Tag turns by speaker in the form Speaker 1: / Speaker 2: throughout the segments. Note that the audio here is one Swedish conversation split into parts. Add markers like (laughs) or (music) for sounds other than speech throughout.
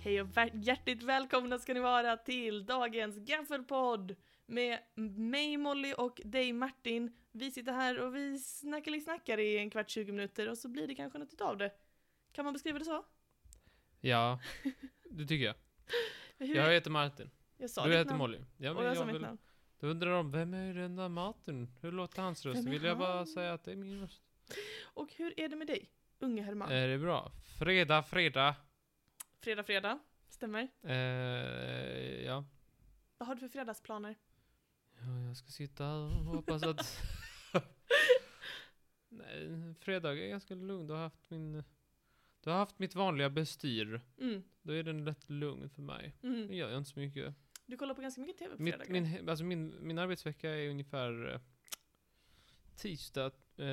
Speaker 1: Hej och vä- hjärtligt välkomna ska ni vara till dagens gaffelpodd med mig Molly och dig Martin. Vi sitter här och vi snackar snackar i en kvart 20 minuter och så blir det kanske något utav det. Kan man beskriva det så?
Speaker 2: Ja, det tycker jag.
Speaker 1: Hur,
Speaker 2: Jag heter Martin.
Speaker 1: jag sa
Speaker 2: Du
Speaker 1: ditt
Speaker 2: heter
Speaker 1: namn.
Speaker 2: Molly. Ja,
Speaker 1: och jag, sa mitt
Speaker 2: vill,
Speaker 1: namn.
Speaker 2: då undrar de, vem är den där Martin? Hur låter hans röst?
Speaker 1: Vem är
Speaker 2: Vill jag bara
Speaker 1: han?
Speaker 2: säga att det är min röst.
Speaker 1: Och hur är det med dig, unge Herman?
Speaker 2: Är det bra? Fredag, fredag.
Speaker 1: Fredag, fredag. Stämmer.
Speaker 2: Eh, ja.
Speaker 1: Vad har du för fredagsplaner?
Speaker 2: ja, jag ska sitta här och hoppas att...
Speaker 1: (laughs)
Speaker 2: Nej, fredag är ganska lugn. Du har haft min... Du har haft mitt vanliga bestyr.
Speaker 1: Mm,
Speaker 2: Då är den lätt lugn för mig. Det
Speaker 1: mm.
Speaker 2: gör jag inte så mycket.
Speaker 1: Du kollar på ganska mycket TV på
Speaker 2: Mitt,
Speaker 1: fredagar.
Speaker 2: min, he- alltså min, min arbetsvecka är ungefär eh, tisdag, eh,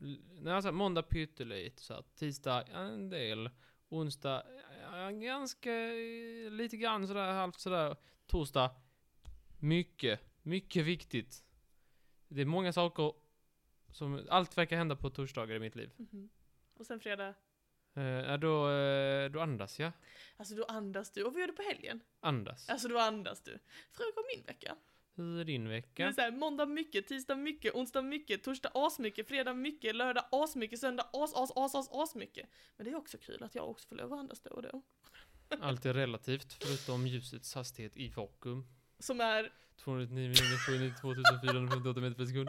Speaker 2: l- nej, alltså måndag pyttelite, så att tisdag en del, onsdag eh, ganska, eh, lite grann sådär, halvt sådär, torsdag mycket, mycket viktigt. Det är många saker som, allt verkar hända på torsdagar i mitt liv.
Speaker 1: Mhm. Och sen fredag.
Speaker 2: Eh, ja, då, eh, då andas jag.
Speaker 1: Alltså då andas du. Och vad gör du på helgen?
Speaker 2: Andas.
Speaker 1: Alltså då andas du. Fråga om min vecka.
Speaker 2: Hur är din
Speaker 1: Det är
Speaker 2: vecka?
Speaker 1: så här, måndag mycket, tisdag mycket, onsdag mycket, torsdag asmycket, fredag mycket, lördag asmycket, söndag as, as, as, as, asmycket. Men det är också kul att jag också får lov att andas då och då.
Speaker 2: Allt är relativt, förutom ljusets hastighet i vakuum.
Speaker 1: Som är... (laughs)
Speaker 2: 209 2458 meter per sekund.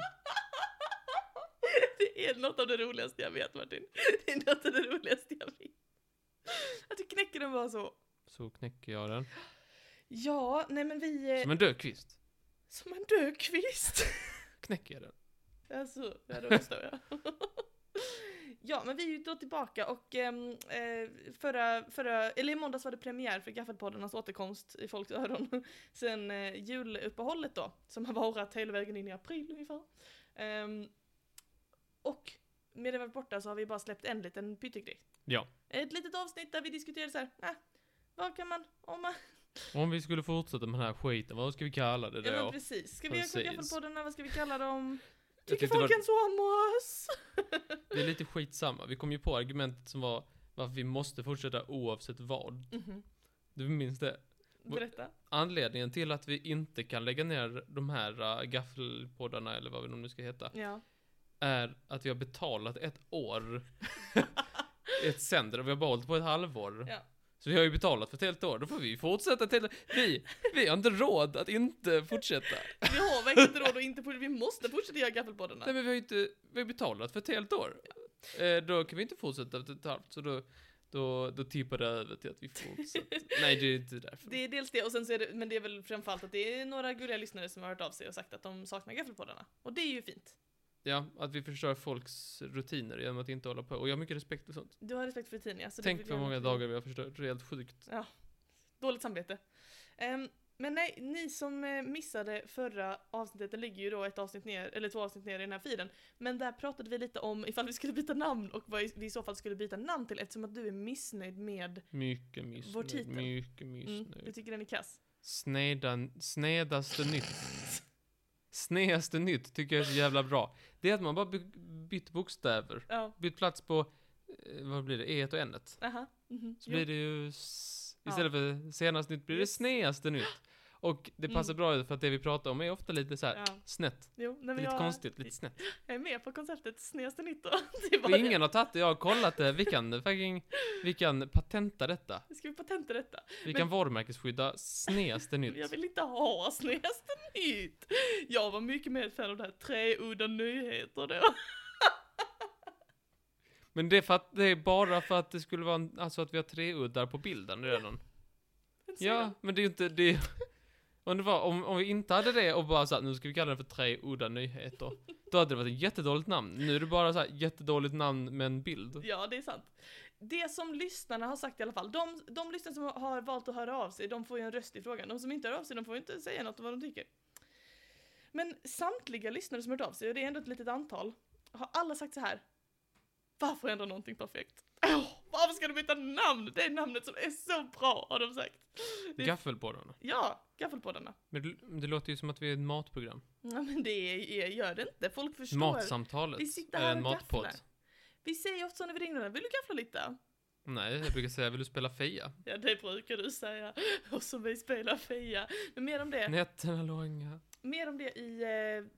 Speaker 1: det är något av det roligaste jag vet Martin. Det är något av det roligaste jag vet. Att du knäcker den bara så.
Speaker 2: Så knäcker jag den.
Speaker 1: Ja, nej men vi... eh,
Speaker 2: Som en död kvist.
Speaker 1: Som en död kvist.
Speaker 2: Knäcker jag den.
Speaker 1: Alltså, ja då förstår jag. (laughs) ja, men vi är ju då tillbaka och ehm, eh, förra, förra, eller i måndags var det premiär för Gaffelpoddarnas återkomst i folks öron (laughs) sen eh, juluppehållet då, som har varat hela vägen in i april ungefär. Ehm, och medan vi var borta så har vi bara släppt en liten pyttegrej.
Speaker 2: Ja.
Speaker 1: Ett litet avsnitt där vi diskuterade så här, ah, vad kan man, om man,
Speaker 2: Om vi skulle fortsätta med den här skiten, vad ska vi kalla det då?
Speaker 1: ja men precis, ska vi göra
Speaker 2: Precis.
Speaker 1: Gaffelpoddarna, vad ska vi kalla dem?
Speaker 2: Jag
Speaker 1: Tycker
Speaker 2: tyckte det var-
Speaker 1: folk ens om oss?
Speaker 2: Det är lite skitsamma. Vi kom ju på argumentet som var varför vi måste fortsätta oavsett vad.
Speaker 1: Mhm.
Speaker 2: Du minns det?
Speaker 1: Berätta.
Speaker 2: Anledningen till att vi inte kan lägga ner de här äh, gaffelpoddarna, eller vad de nu ska heta,
Speaker 1: Ja.
Speaker 2: är att vi har betalat ett år i ett sändare. Vi har bara hållit på ett halvår.
Speaker 1: Ja.
Speaker 2: Så vi har ju betalat för ett helt år. Då får vi fortsätta till... Vi, vi har inte råd att inte fortsätta.
Speaker 1: Vi har verkligen inte råd att inte fortsätta, vi måste fortsätta göra gaffelpoddarna.
Speaker 2: Nej men vi har ju inte... Vi har betalat för ett helt år. Eh, då kan vi inte fortsätta efter ett halvt. Så då, då, då tippar det över till att vi fortsätter. Nej det är inte därför.
Speaker 1: Det är dels det, och sen så är det, men det är väl framförallt att det är några gulliga lyssnare som har hört av sig och sagt att de saknar gaffelpoddarna. Och det är ju fint.
Speaker 2: Ja, att vi förstör folks rutiner genom att inte hålla på. Och jag har mycket respekt för sånt.
Speaker 1: Du har respekt för rutiner, ja, så det vill
Speaker 2: Tänk
Speaker 1: jag
Speaker 2: vad många
Speaker 1: inte-
Speaker 2: dagar vi har förstört. Det är helt sjukt.
Speaker 1: Dåligt samvete. Ehm, men nej, ni som eh, missade förra avsnittet, det ligger ju då ett avsnitt ner, eller två avsnitt ner i den här feeden. Men där pratade vi lite om ifall vi skulle byta namn och vad vi i så fall skulle byta namn till eftersom att du är missnöjd med,
Speaker 2: Mycket
Speaker 1: Vår
Speaker 2: missnöjd.
Speaker 1: titel.
Speaker 2: Mycket
Speaker 1: mm,
Speaker 2: missnöjd.
Speaker 1: du tycker den är kass.
Speaker 2: Snedan, snedaste nytt. Snedaste nytt tycker jag är så jävla bra. Det är att man bara by- bytt bokstäver.
Speaker 1: Ja,
Speaker 2: Bytt plats på, eh, vad blir det, e och n
Speaker 1: aha. mhm,
Speaker 2: Så
Speaker 1: jo.
Speaker 2: blir det ju, s-
Speaker 1: Ja.
Speaker 2: istället för senast nytt blir det
Speaker 1: Yes.
Speaker 2: snedaste nytt. Och det passar
Speaker 1: Mm.
Speaker 2: bra ut för att det vi pratar om är ofta lite så här
Speaker 1: Ja.
Speaker 2: snett.
Speaker 1: Jo, nej, men
Speaker 2: Lite
Speaker 1: jag,
Speaker 2: konstigt, lite snett.
Speaker 1: Jag är med på konceptet snedaste nytt då. (laughs) Det är bara
Speaker 2: Och
Speaker 1: det.
Speaker 2: ingen har tagit det, jag har kollat det. Vi kan fucking, vi kan patenta detta.
Speaker 1: Ska vi patenta detta?
Speaker 2: Vi
Speaker 1: Men-
Speaker 2: kan varumärkesskydda snedaste
Speaker 1: Jag
Speaker 2: nytt.
Speaker 1: vill inte ha snästa nytt. Jag var mycket mer ett fan av det här tre udda nyheter då. (laughs)
Speaker 2: Men det är, för att, det är bara för att det skulle vara, en, alltså att vi har tre uddar på bilden redan.
Speaker 1: Men så är
Speaker 2: Ja,
Speaker 1: det.
Speaker 2: men det är ju inte, det är, om, det var, om, om vi inte hade det och bara såhär, nu ska vi kalla den för tre udda nyheter. Då hade det varit ett jättedåligt namn. Nu är det bara såhär, jättedåligt namn med en bild.
Speaker 1: Ja, det är sant. Det som lyssnarna har sagt i alla fall, de, de lyssnare som har valt att höra av sig, de får ju en röst i frågan. De som inte hör av sig, de får ju inte säga något om vad de tycker. Men samtliga lyssnare som hört av sig, och det är ändå ett litet antal, har alla sagt så här. Varför ändra någonting perfekt? Åh, varför ska du byta namn? Det är namnet som är så bra, har de sagt. Det är-
Speaker 2: Gaffelpoddarna.
Speaker 1: Ja, gaffelpoddarna.
Speaker 2: Men det, det låter ju som att vi är ett matprogram.
Speaker 1: Ja men det är, gör det inte, folk förstår.
Speaker 2: Matsamtalet
Speaker 1: Vi sitter
Speaker 2: är
Speaker 1: här
Speaker 2: en
Speaker 1: och
Speaker 2: matpodd.
Speaker 1: gafflar. Vi säger ofta så när vi ringer dem, vill du gaffla lite?
Speaker 2: Nej, jag brukar säga, vill du spela Fia?
Speaker 1: Ja, det brukar du säga. (laughs) Och så vi spelar Fia. Men mer om det,
Speaker 2: Nätterna långa.
Speaker 1: mer om det i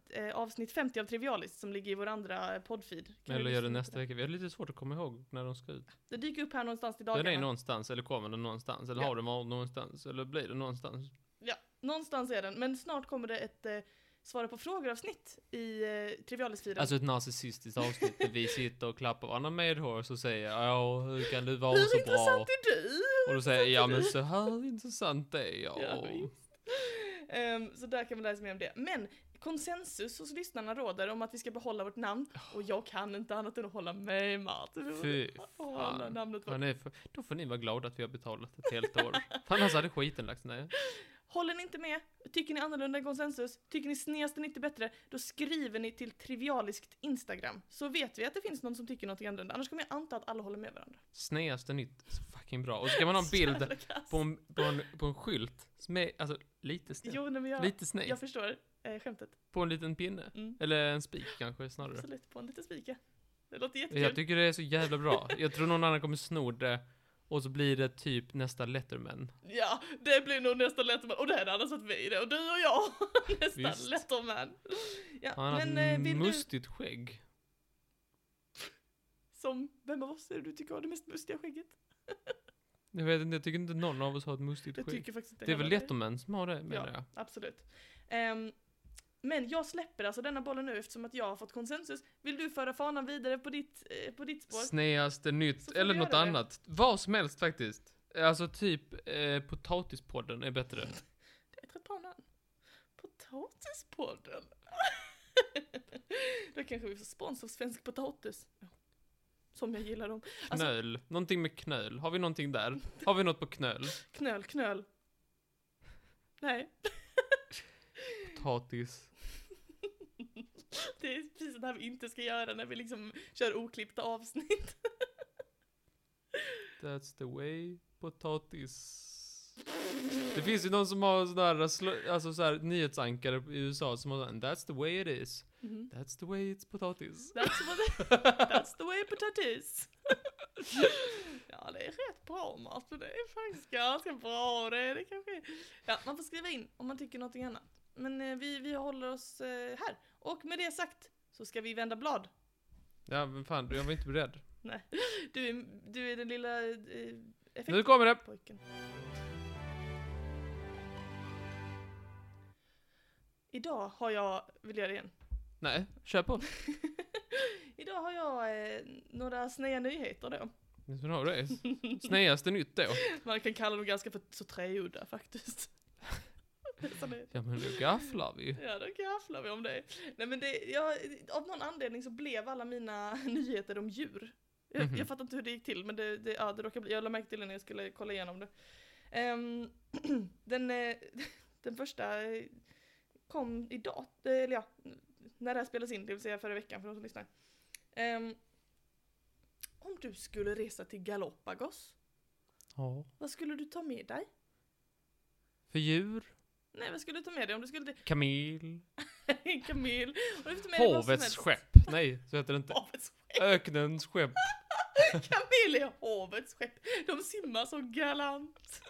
Speaker 1: eh, eh, avsnitt 50 av Trivialist som ligger i vår andra eh, poddfeed. Kan du
Speaker 2: Eller gör det
Speaker 1: lyssna på
Speaker 2: nästa vecka. Vi har lite svårt att komma ihåg när de ska ut.
Speaker 1: Det dyker upp här någonstans i
Speaker 2: Den
Speaker 1: dagarna.
Speaker 2: är någonstans, eller kommer den någonstans, eller
Speaker 1: Ja.
Speaker 2: har den varit någonstans, eller blir den någonstans.
Speaker 1: Ja, någonstans är den. Men snart kommer det ett eh, svara på frågor-avsnitt i eh, Trivialist-feeden.
Speaker 2: Alltså ett narcissistiskt avsnitt där vi sitter och klappar varandra medhårs och säger ja, hur kan du vara
Speaker 1: Hur
Speaker 2: så bra?
Speaker 1: intressant är du?
Speaker 2: Och då säger jag, ja men så här intressant är jag.
Speaker 1: Ja, visst. Ehm, så där kan man lära sig mer om det. Men konsensus hos lyssnarna råder om att vi ska behålla vårt namn. Och jag kan inte annat än att hålla med Martin.
Speaker 2: Fy
Speaker 1: Hålla
Speaker 2: fan.
Speaker 1: namnet
Speaker 2: Ja,
Speaker 1: vårt.
Speaker 2: nej, för, då får ni vara glada att vi har betalat ett helt år. För annars hade skiten lagts ner.
Speaker 1: Håller ni inte med? Tycker ni annorlunda än konsensus? Tycker ni snesten inte bättre? Då skriver ni till trivialiskt Instagram. Så vet vi att det finns någon som tycker någonting annorlunda. Annars kommer jag anta att alla håller med varandra.
Speaker 2: Sneaste nytt, så fucking bra. Och så ska man ha en bild
Speaker 1: Jävla kass.
Speaker 2: på en, på en, på en skylt som är, alltså lite sned.
Speaker 1: Jo, nej, men jag,
Speaker 2: Lite sned.
Speaker 1: jag förstår eh, skämtet.
Speaker 2: På en liten pinne.
Speaker 1: Mm.
Speaker 2: Eller en spik kanske snarare.
Speaker 1: Absolut, på en liten spika. Det låter
Speaker 2: Jag
Speaker 1: jättekul.
Speaker 2: tycker det är så jävla bra. Jag tror någon annan kommer sno det. Och så blir det typ nästa Letterman.
Speaker 1: Ja, det blir nog nästa Letterman. Och det hade annars varit vi det. Och du och jag, (laughs) nästa
Speaker 2: Visst.
Speaker 1: Letterman. Ja,
Speaker 2: Han har
Speaker 1: men
Speaker 2: ett
Speaker 1: eh, vill du,
Speaker 2: mustigt skägg.
Speaker 1: som, vem av oss är det du tycker har det mest mustiga skägget?
Speaker 2: Jag vet inte, jag tycker inte någon av oss har ett mustigt
Speaker 1: Jag
Speaker 2: skägg.
Speaker 1: tycker faktiskt inte
Speaker 2: Det är väl
Speaker 1: heller
Speaker 2: Letterman som har det menar jag.
Speaker 1: Absolut. Ehm, men jag släpper alltså denna bollen nu eftersom att jag har fått konsensus. Vill du föra fanan vidare på ditt, eh, på ditt spår?
Speaker 2: Sneaste
Speaker 1: Så
Speaker 2: nytt,
Speaker 1: får
Speaker 2: eller
Speaker 1: vi
Speaker 2: något
Speaker 1: göra det.
Speaker 2: annat. Vad som helst faktiskt. Alltså typ eh, potatispodden är bättre.
Speaker 1: Jag tror på honom. Potatispodden. (laughs) Då kanske vi får spons av Svensk Potatis. Som jag gillar dem. Alltså-
Speaker 2: Knöl. Någonting med knöl. Har vi någonting där? Har vi något på knöl?
Speaker 1: Knöl, knöl. Nej, (laughs)
Speaker 2: Potatis.
Speaker 1: det är precis det här vi inte ska göra när vi liksom kör oklippta avsnitt.
Speaker 2: That's the way. Potatis. Det finns ju någon som har sådär, slö- alltså sådär nyhetsankare i USA som har sån, That's the way it is.
Speaker 1: Mhm.
Speaker 2: That's the way it's potatis.
Speaker 1: That's, what, that's the way potatis. ja, det är rätt bra Martin. Det är faktiskt ganska bra. Det är det kanske. är. Ja, man får skriva in om man tycker någonting annat. Men eh, vi, vi håller oss eh, här. Och med det sagt så ska vi vända blad.
Speaker 2: Ja men fan, jag var inte beredd.
Speaker 1: Nej, du är, du är den lilla eh,
Speaker 2: Nu kommer det!
Speaker 1: effektpojken. Idag har jag, vill jag göra det igen.
Speaker 2: Nej, kör på.
Speaker 1: Idag har jag eh, några sneda nyheter då.
Speaker 2: Nu har du det. Sneaste nytt då.
Speaker 1: Man kan kalla dem ganska för så träudda faktiskt. Så det-
Speaker 2: Ja men nu gafflar vi.
Speaker 1: Ja, då gafflar vi om det. Nej men det, jag, av någon anledning så blev alla mina (laughs) nyheter om djur. Jag,
Speaker 2: Mhm.
Speaker 1: jag fattar inte hur det gick till men det, det, ja, det råkade bli, jag lade märke till det när jag skulle kolla igenom det. Ehm, (clears throat) den, eh, (laughs) den första eh, kom idag, eh, eller ja, när det här spelas in, det vill säga förra veckan för de som lyssnar. Ehm, om du skulle resa till Galapagos,
Speaker 2: Ja.
Speaker 1: vad skulle du ta med dig?
Speaker 2: För djur.
Speaker 1: Nej, vad skulle du ta med dig om du skulle till
Speaker 2: Kamel. (laughs)
Speaker 1: en kamel? Om du fick ta med dig vad som
Speaker 2: Hovets
Speaker 1: helst?
Speaker 2: skepp. Nej, så heter det inte.
Speaker 1: Havets (laughs)
Speaker 2: Öknens skepp.
Speaker 1: Kamel är havets skepp. De simmar så galant.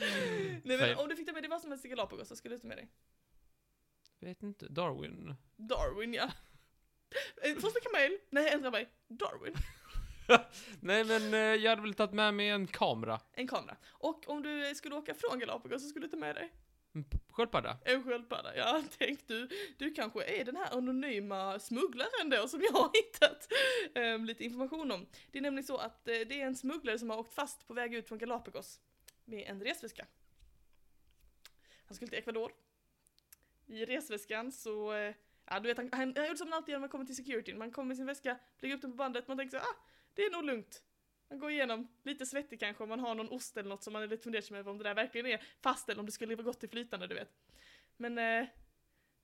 Speaker 1: Nej men
Speaker 2: Mm. Säg.
Speaker 1: om du fick ta med dig vad som helst till Galapagos, vad skulle du ta med dig?
Speaker 2: Vet inte. Darwin.
Speaker 1: Darwin ja. Eh, Första kamel, nej ändra mig. Darwin.
Speaker 2: Nej men eh, jag hade väl tagit med mig en kamera.
Speaker 1: En kamera. Och om du eh, skulle åka från Galapagos så skulle du ta med dig
Speaker 2: En p- sköldpadda.
Speaker 1: en sköldpadda. Ja, (laughs) tänk du. Du kanske är den här anonyma smugglaren då som jag har hittat eh, lite information om. Det är nämligen så att eh, det är en smugglare som har åkt fast på väg ut från Galapagos med en resväska. Han skulle till Ecuador. I resväskan så, eh, ja du vet han, han, han gjorde som han alltid gör när man kommer till security. Man kommer med sin väska, lägger upp den på bandet, man tänker så ah, det är nog lugnt. Man går igenom, lite svettig kanske om man har någon ost eller något som man är lite fundersam över om det där verkligen är fast eller om det skulle vara gott i flytande du vet. Men eh,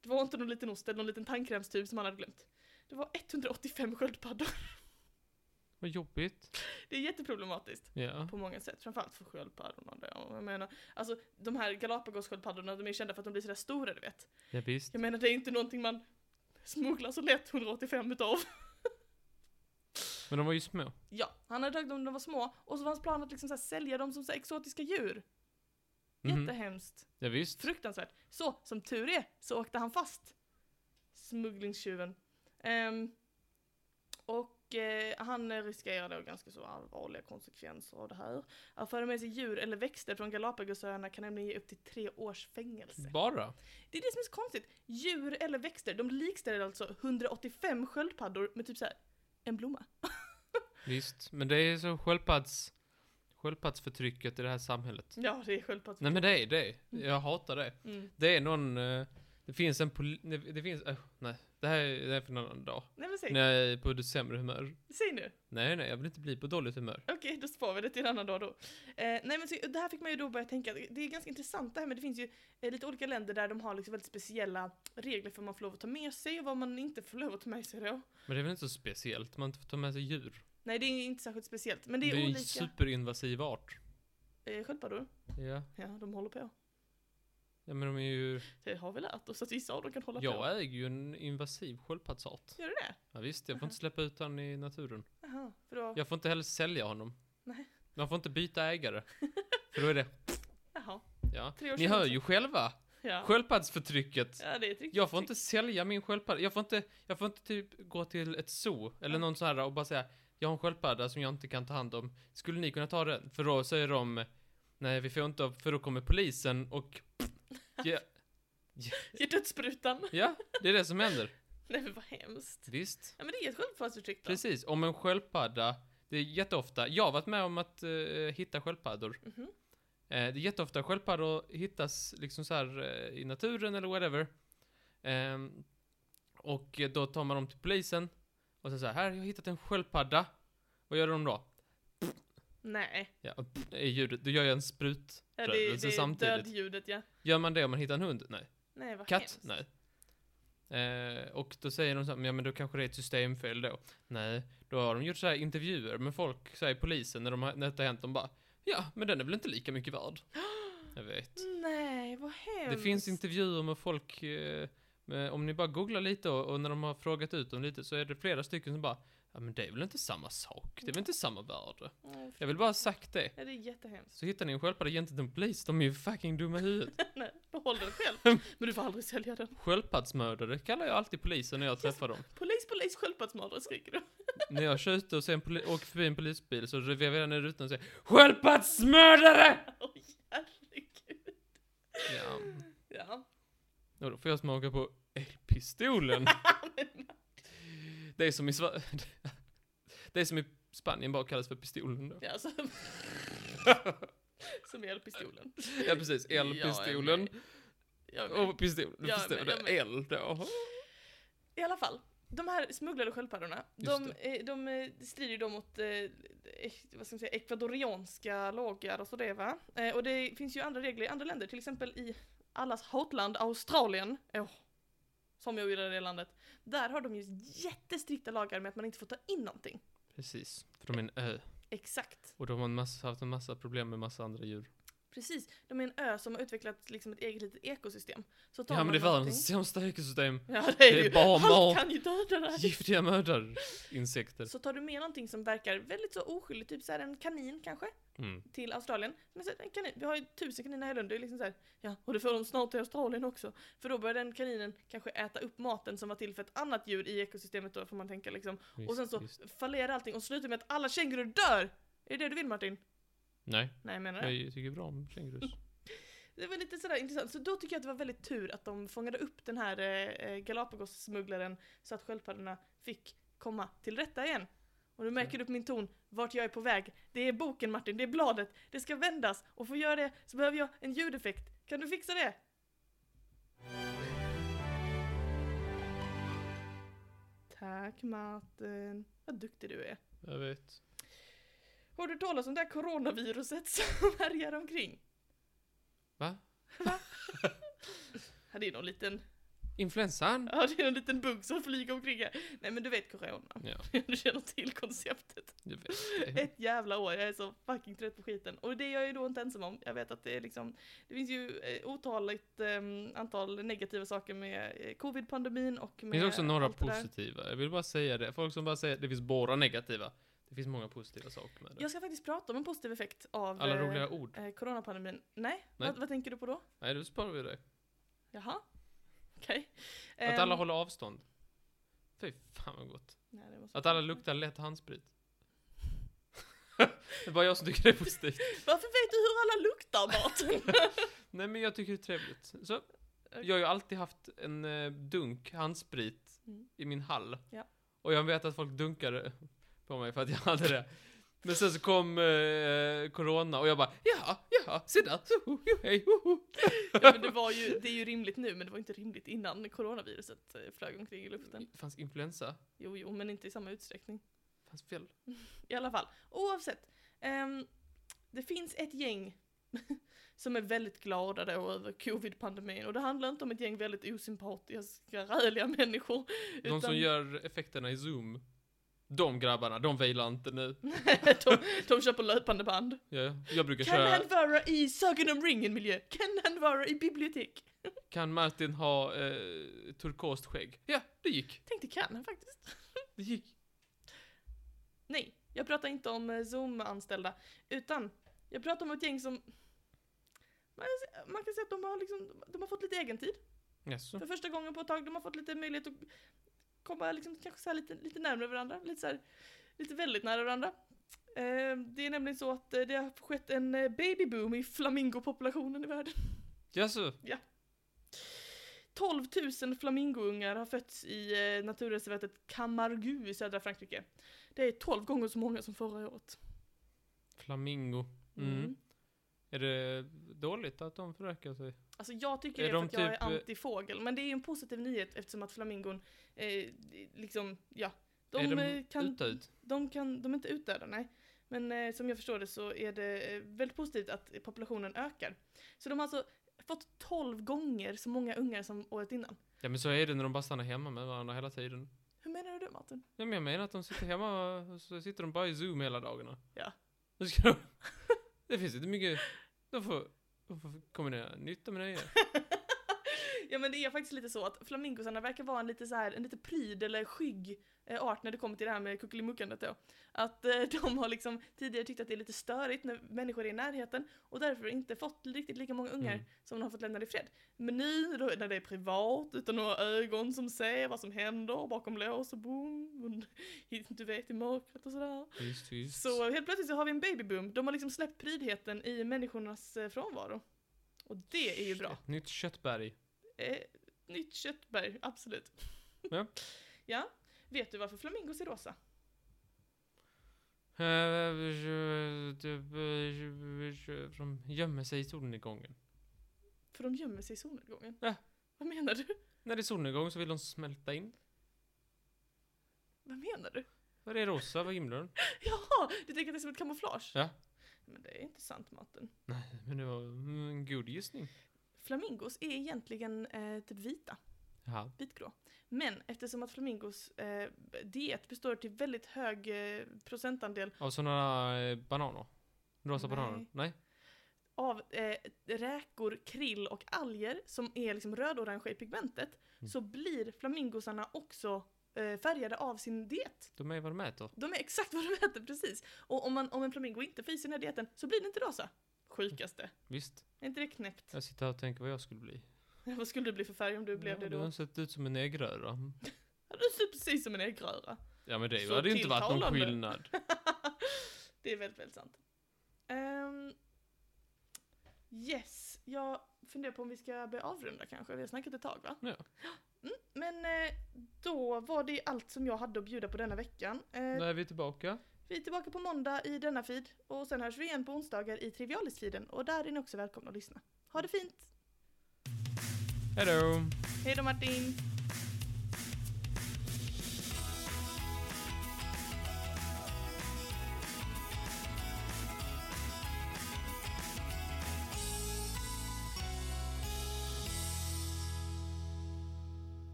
Speaker 1: det var inte någon liten ost eller någon liten tandkrämstub som han hade glömt. Det var 185 sköldpaddor. (laughs)
Speaker 2: Vad jobbigt.
Speaker 1: Det är jätteproblematiskt.
Speaker 2: Ja.
Speaker 1: På många sätt, framförallt för sköldpaddorna. då. Jag menar, alltså de här Galapagos-sköldpaddorna, de är kända för att de blir sådär stora du vet.
Speaker 2: Ja, visst.
Speaker 1: Jag menar det är inte någonting man smugglar så lätt 185 utav.
Speaker 2: Men de var ju små.
Speaker 1: (laughs) Ja, han hade tagit dem när de var små och så var hans plan att liksom så här sälja dem som så här exotiska djur.
Speaker 2: Mhm.
Speaker 1: Jättehemskt.
Speaker 2: Ja, visst.
Speaker 1: Fruktansvärt. Så, som tur är, så åkte han fast. Smugglingstjuven. Ehm, och eh, han riskerar då ganska så allvarliga konsekvenser av det här. Att föra med sig djur eller växter från Galapagosöarna kan nämligen ge upp till tre års fängelse.
Speaker 2: Bara?
Speaker 1: Det är det som är så konstigt. Djur eller växter, de likställer alltså 185 sköldpaddor med typ så här en blomma.
Speaker 2: Visst. Men det är så sköldpadds... Sköldpaddsförtrycket i det här samhället.
Speaker 1: Ja, det är sköldpaddor.
Speaker 2: Nej men det är det. Jag hatar det.
Speaker 1: Mm.
Speaker 2: Det är någon... eh, Det finns en poli... nej, Det finns... eh, nej. Det här är det här är för en annan dag.
Speaker 1: Nej men säg,
Speaker 2: När jag är på det sämre humör.
Speaker 1: säg nu.
Speaker 2: Nej, nej, jag vill inte bli på dåligt humör.
Speaker 1: Okej, då spar vi det till en annan dag då. Eh, nej men så, det här fick man ju då börja tänka, det är ganska intressant det här men det finns ju eh, lite olika länder där de har liksom väldigt speciella regler för vad man får lov att ta med sig och vad man inte får lov att ta med sig då.
Speaker 2: Men det är väl inte så speciellt? Man inte får ta med sig djur.
Speaker 1: Nej det är inte särskilt speciellt, men
Speaker 2: Det
Speaker 1: det
Speaker 2: är
Speaker 1: är,
Speaker 2: ju en
Speaker 1: olika.
Speaker 2: superinvasiv art.
Speaker 1: eh, sköldpaddor,
Speaker 2: Ja.
Speaker 1: ja de håller på.
Speaker 2: ja, men de är ju...
Speaker 1: Det har vi lärt oss att vissa av dem kan hålla på.
Speaker 2: Jag äger ju en invasiv sköldpaddsart.
Speaker 1: Gör du det?
Speaker 2: Ja, visst, jag får inte släppa ut honom i naturen.
Speaker 1: Jaha, för då,
Speaker 2: Jag får inte heller sälja honom.
Speaker 1: Nej.
Speaker 2: Man får inte byta ägare. För då är det...
Speaker 1: jaha,
Speaker 2: Ja.
Speaker 1: tre år
Speaker 2: Ni hör ju själva!
Speaker 1: Ja.
Speaker 2: Sköldpaddsförtrycket!
Speaker 1: ja, det är ett riktigt
Speaker 2: Jag får
Speaker 1: trick.
Speaker 2: inte sälja min sköldpadda. Jag får inte, jag får inte typ gå till ett zoo eller
Speaker 1: Ja.
Speaker 2: någon sån här och bara säga jag har en sköldpadda som jag inte kan ta hand om. Skulle ni kunna ta den? För då säger de nej vi får inte för då kommer polisen och (laughs) ja,
Speaker 1: Ge dödssprutan. (laughs)
Speaker 2: ja, det är det som händer.
Speaker 1: Nej men vad hemskt.
Speaker 2: Visst.
Speaker 1: Ja men det är ett sköldpaddsförtryck då.
Speaker 2: Precis, om en sköldpadda, det är jätteofta, jag har varit med om att eh, hitta sköldpaddor.
Speaker 1: Mhm.
Speaker 2: Eh, det är jätteofta sköldpaddor hittas liksom så här eh, i naturen eller whatever. Ehm, och eh, då tar man dem till polisen och sen så här, här jag har hittat en sköldpadda. Vad gör de då?
Speaker 1: Nej,
Speaker 2: Ja, är ljudet, då gör jag en sprut.
Speaker 1: ja, det, det,
Speaker 2: Så
Speaker 1: är
Speaker 2: samtidigt.
Speaker 1: dödljudet ja.
Speaker 2: Gör man det om man hittar en hund? Nej.
Speaker 1: Nej vad
Speaker 2: Katt?
Speaker 1: hemskt.
Speaker 2: Nej. Eh, och då säger de så här, "Men ja men då kanske det är ett systemfel då. Nej, då har de gjort så här intervjuer med folk, så här i polisen, när, de har, när detta har hänt, de bara Ja, men den är väl inte lika
Speaker 1: (gasps)
Speaker 2: mycket värd. Jag vet.
Speaker 1: Nej, vad hemskt.
Speaker 2: Det finns intervjuer med folk, eh, med, om ni bara googlar lite och, och när de har frågat ut dem lite så är det flera stycken som bara Ja men det är väl inte samma sak, det är väl inte samma värde.
Speaker 1: Mm,
Speaker 2: Jag vill bara ha sagt det.
Speaker 1: Ja, det är jättehemskt. (laughs)
Speaker 2: Så hittar ni en sköldpadda gentemot en polis, de är ju fucking dumma i huvudet.
Speaker 1: Nej, behåll den
Speaker 2: (laughs)
Speaker 1: själv. Men du får aldrig sälja den.
Speaker 2: Sköldpaddsmördare kallar jag alltid polisen när jag träffar dem.
Speaker 1: Polis, polis, sköldpaddsmördare skriker du. (laughs)
Speaker 2: När jag kör ut och ser en poli- åker förbi en polisbil så vevar jag ner rutan och säger Sköldpaddsmördare!
Speaker 1: Oj, herregud.
Speaker 2: Ja,
Speaker 1: Ja. (laughs)
Speaker 2: och då får jag smaka på elpistolen. det är som i Sva- (laughs) Det är som i Spanien bara kallas för pistolen då. (laughs)
Speaker 1: ja så. alltså. Som elpistolen.
Speaker 2: Ja precis, elpistolen.
Speaker 1: Ja, men-
Speaker 2: och pistol, du
Speaker 1: Ja,
Speaker 2: förstår
Speaker 1: men-
Speaker 2: det.
Speaker 1: ja, men-
Speaker 2: El då.
Speaker 1: I alla fall. De här smugglade sköldpaddorna,
Speaker 2: Just
Speaker 1: de, eh, de eh, strider ju då mot eh, eh, vad ska man säga, ekvadorianska lagar och sådär va. Eh, och det finns ju andra regler i andra länder, till exempel i allas hotland Australien, Åh, som jag gillar det landet, där har de ju jättestrikta lagar med att man inte får ta in någonting.
Speaker 2: Precis, för de är en ö.
Speaker 1: Exakt,
Speaker 2: Och de har en massa, haft en massa problem med massa andra djur.
Speaker 1: precis. De är en ö som har utvecklat liksom ett eget litet ekosystem. Så tar
Speaker 2: Ja men
Speaker 1: man
Speaker 2: det är
Speaker 1: någonting-
Speaker 2: världens sämsta ekosystem.
Speaker 1: (laughs) Ja det är,
Speaker 2: det är
Speaker 1: ju.
Speaker 2: bara
Speaker 1: Allt
Speaker 2: mat.
Speaker 1: kan ju döda det här.
Speaker 2: Giftiga mördarinsekter.
Speaker 1: Så tar du med någonting som verkar väldigt så oskyldigt, typ så här en kanin kanske,
Speaker 2: Mm.
Speaker 1: till Australien. Men så, en kanin, vi har ju tusen kaniner här i Lund, det är liksom så här, ja, och det får de snart till Australien också. För då börjar den kaninen kanske äta upp maten som var till för ett annat djur i ekosystemet då, får man tänka liksom. och sen
Speaker 2: Visst,
Speaker 1: så
Speaker 2: visst.
Speaker 1: fallerar allting och slutar med att alla kängurur dör! Är det det du vill Martin?
Speaker 2: Nej.
Speaker 1: Nej jag menar det.
Speaker 2: Jag tycker bra om kängurus.
Speaker 1: Det var lite sådär intressant, så då tycker jag att det var väldigt tur att de fångade upp den här eh, eh, Galapagos-smugglaren så att sköldpaddorna fick komma till rätta igen. Och nu märker du på min ton vart jag är på väg. Det är boken Martin, det är bladet, det ska vändas och för att göra det så behöver jag en ljudeffekt. Kan du fixa det? Tack Martin, vad duktig du är.
Speaker 2: Jag vet.
Speaker 1: Har du hört talas om det här coronaviruset som (laughs) härjar omkring?
Speaker 2: Va?
Speaker 1: Ja, Det är någon liten
Speaker 2: Influensan?
Speaker 1: Ja, det är en liten bugg som flyger omkring här. Nej men du vet corona.
Speaker 2: Ja,
Speaker 1: (laughs) Du känner till konceptet.
Speaker 2: du vet.
Speaker 1: (laughs) Ett jävla år, jag är så fucking trött på skiten. Och det är jag ju då inte ensam om. Jag vet att det är liksom, det finns ju eh, otaligt eh, antal negativa saker med eh, covid-pandemin och
Speaker 2: Det
Speaker 1: med
Speaker 2: finns också några
Speaker 1: allt det där.
Speaker 2: positiva. Jag vill bara säga det. Folk som bara säger att det finns bara negativa. Det finns många positiva saker med det.
Speaker 1: Jag ska faktiskt prata om en positiv effekt av
Speaker 2: Alla
Speaker 1: eh,
Speaker 2: roliga ord.
Speaker 1: eh, coronapandemin. Nej,
Speaker 2: Nej.
Speaker 1: Vad, vad tänker du på då?
Speaker 2: Nej, då sparar vi det.
Speaker 1: Jaha? Okej.
Speaker 2: Att
Speaker 1: Ehm,
Speaker 2: alla håller avstånd. Fy fan vad gott.
Speaker 1: nej, det måste-
Speaker 2: Att alla luktar lätt handsprit. (laughs) det är bara jag som tycker det är positivt.
Speaker 1: Varför vet du hur alla luktar Martin?
Speaker 2: (laughs) Nej men jag tycker det är trevligt. Så, jag har ju alltid haft en eh, dunk handsprit
Speaker 1: Mm.
Speaker 2: i min hall.
Speaker 1: Ja.
Speaker 2: Och jag vet att folk dunkade på mig för att jag hade det. Men sen så kom eh, corona och jag bara ja, ja, se där, så, ho, jo, hej, ho, ho.
Speaker 1: ja, men det, var ju, det är ju rimligt nu, men det var inte rimligt innan coronaviruset eh, flög omkring i luften.
Speaker 2: Det fanns influensa,
Speaker 1: Jo, jo, men inte i samma utsträckning.
Speaker 2: det fanns fel.
Speaker 1: I alla fall, oavsett. ehm, det finns ett gäng (laughs) som är väldigt glada då över covid-pandemin. Och det handlar inte om ett gäng väldigt osympatiska, räliga människor.
Speaker 2: De
Speaker 1: (laughs)
Speaker 2: som gör effekterna i zoom, de grabbarna, de vejlar inte nu.
Speaker 1: de, de kör på löpande band.
Speaker 2: Jag, jag brukar
Speaker 1: Kan
Speaker 2: köra,
Speaker 1: han vara i Sagan om ringen-miljö? Kan han vara i bibliotek?
Speaker 2: kan Martin ha eh, turkost skägg? Ja, det gick,
Speaker 1: Tänkte kan han faktiskt.
Speaker 2: det gick.
Speaker 1: Nej, jag pratar inte om eh, Zoom-anställda, utan jag pratar om ett gäng som... Man kan se- man kan säga att de har, liksom, de har fått lite egen tid.
Speaker 2: Jaså?
Speaker 1: För första gången på ett tag, de har fått lite möjlighet att komma liksom, kanske så här lite, lite närmare varandra, lite, så här, lite väldigt nära varandra. Eh, det är nämligen så att eh, det har skett en eh, babyboom i flamingopopulationen i världen.
Speaker 2: Jaså?
Speaker 1: 12 000 flamingoungar har fötts i eh, naturreservatet Camargue i södra Frankrike. Det är 12 gånger så många som förra året.
Speaker 2: Flamingo. Mm. Är det dåligt att de förökar sig?
Speaker 1: Alltså jag tycker
Speaker 2: Är
Speaker 1: det för
Speaker 2: de
Speaker 1: att jag är
Speaker 2: typ, eh,
Speaker 1: antifågel, men det är ju en positiv nyhet eftersom att flamingon, eh, liksom, ja.
Speaker 2: är
Speaker 1: De, eh,
Speaker 2: de
Speaker 1: kan,
Speaker 2: utdöd?
Speaker 1: de kan, de är inte utdöda, nej. Men eh, som jag förstår det så är det eh, väldigt positivt att populationen ökar. Så de har alltså fått 12 gånger så många ungar som året innan.
Speaker 2: Ja men så är det när de bara stannar hemma med varandra hela tiden.
Speaker 1: Hur menar du det Martin?
Speaker 2: Ja, men jag menar att de sitter hemma och så sitter de bara i Zoom hela dagarna.
Speaker 1: Ja.
Speaker 2: Då ska de... (laughs) Det finns inte mycket... De får, de får kombinera nytta med
Speaker 1: (laughs)
Speaker 2: nöje.
Speaker 1: ja men det är faktiskt lite så att flamingosarna verkar vara en lite så här, en lite pryd eller skygg eh, art när det kommer till det här med kuckelimuckandet då. Att eh, (laughs) de har liksom tidigare tyckt att det är lite störigt när människor är i närheten och därför inte fått riktigt lika många ungar
Speaker 2: Mm.
Speaker 1: som de har fått lämna i fred. Men nu då, när det är privat, utan några ögon som ser vad som händer bakom lås och bom, und- (laughs) du vet i mörkret och sådär.
Speaker 2: Tyst, tyst.
Speaker 1: Så helt plötsligt så har vi en babyboom. De har liksom släppt prydheten i människornas eh, frånvaro. Och det är ju bra.
Speaker 2: Ett nytt köttberg.
Speaker 1: Eh, nytt köttberg, absolut.
Speaker 2: Ja.
Speaker 1: (laughs) Ja. Vet du varför flamingos är rosa?
Speaker 2: De gömmer sig i solnedgången.
Speaker 1: För de gömmer sig i solnedgången.
Speaker 2: Ja.
Speaker 1: Vad menar du?
Speaker 2: När det är solnedgång så vill de smälta in.
Speaker 1: Vad menar du? (laughs)
Speaker 2: Vad är rosa? Vad himlen?
Speaker 1: Jaha, du tänker att det är som ett kamouflage?
Speaker 2: Ja.
Speaker 1: Men det är inte sant, Martin.
Speaker 2: Nej, men det var mm, en god gissning.
Speaker 1: Flamingos är egentligen eh, typ vita,
Speaker 2: Ja.
Speaker 1: vitgrå. Men eftersom att flamingos eh, diet består till väldigt hög eh, procentandel
Speaker 2: Av sådana eh, bananer? Rosa
Speaker 1: Nej.
Speaker 2: bananer? Nej?
Speaker 1: av eh, räkor, krill och alger som är liksom röd-orange i pigmentet
Speaker 2: Mm.
Speaker 1: så blir flamingosarna också eh, färgade av sin diet.
Speaker 2: De är vad de äter.
Speaker 1: De är exakt vad de äter precis. Och om, man, om en flamingo inte får i sig den här dieten så blir den inte rosa. Sjukaste.
Speaker 2: Visst.
Speaker 1: Är inte det knäppt?
Speaker 2: Jag sitter här och tänker vad jag skulle bli.
Speaker 1: Vad skulle du bli för färg om du blev
Speaker 2: ja,
Speaker 1: det
Speaker 2: Du har
Speaker 1: då?
Speaker 2: sett ut som en äggröra.
Speaker 1: Ja, Du ser precis som en äggröra.
Speaker 2: Ja men det
Speaker 1: Så
Speaker 2: hade ju inte varit någon
Speaker 1: tilltalande. (laughs)
Speaker 2: skillnad.
Speaker 1: det är väldigt, väldigt sant. Ehm, yes, jag funderar på om vi ska börja avrunda kanske. Vi har snackat ett tag va?
Speaker 2: Ja.
Speaker 1: Mm, men eh, då var det allt som jag hade att bjuda på denna veckan. Eh,
Speaker 2: Då är vi tillbaka.
Speaker 1: vi är tillbaka på måndag i denna feed och sen hörs vi igen på onsdagar i Trivialis-feeden och där är ni också välkomna att lyssna. Ha det fint!
Speaker 2: Hejdå!
Speaker 1: Hej då Martin!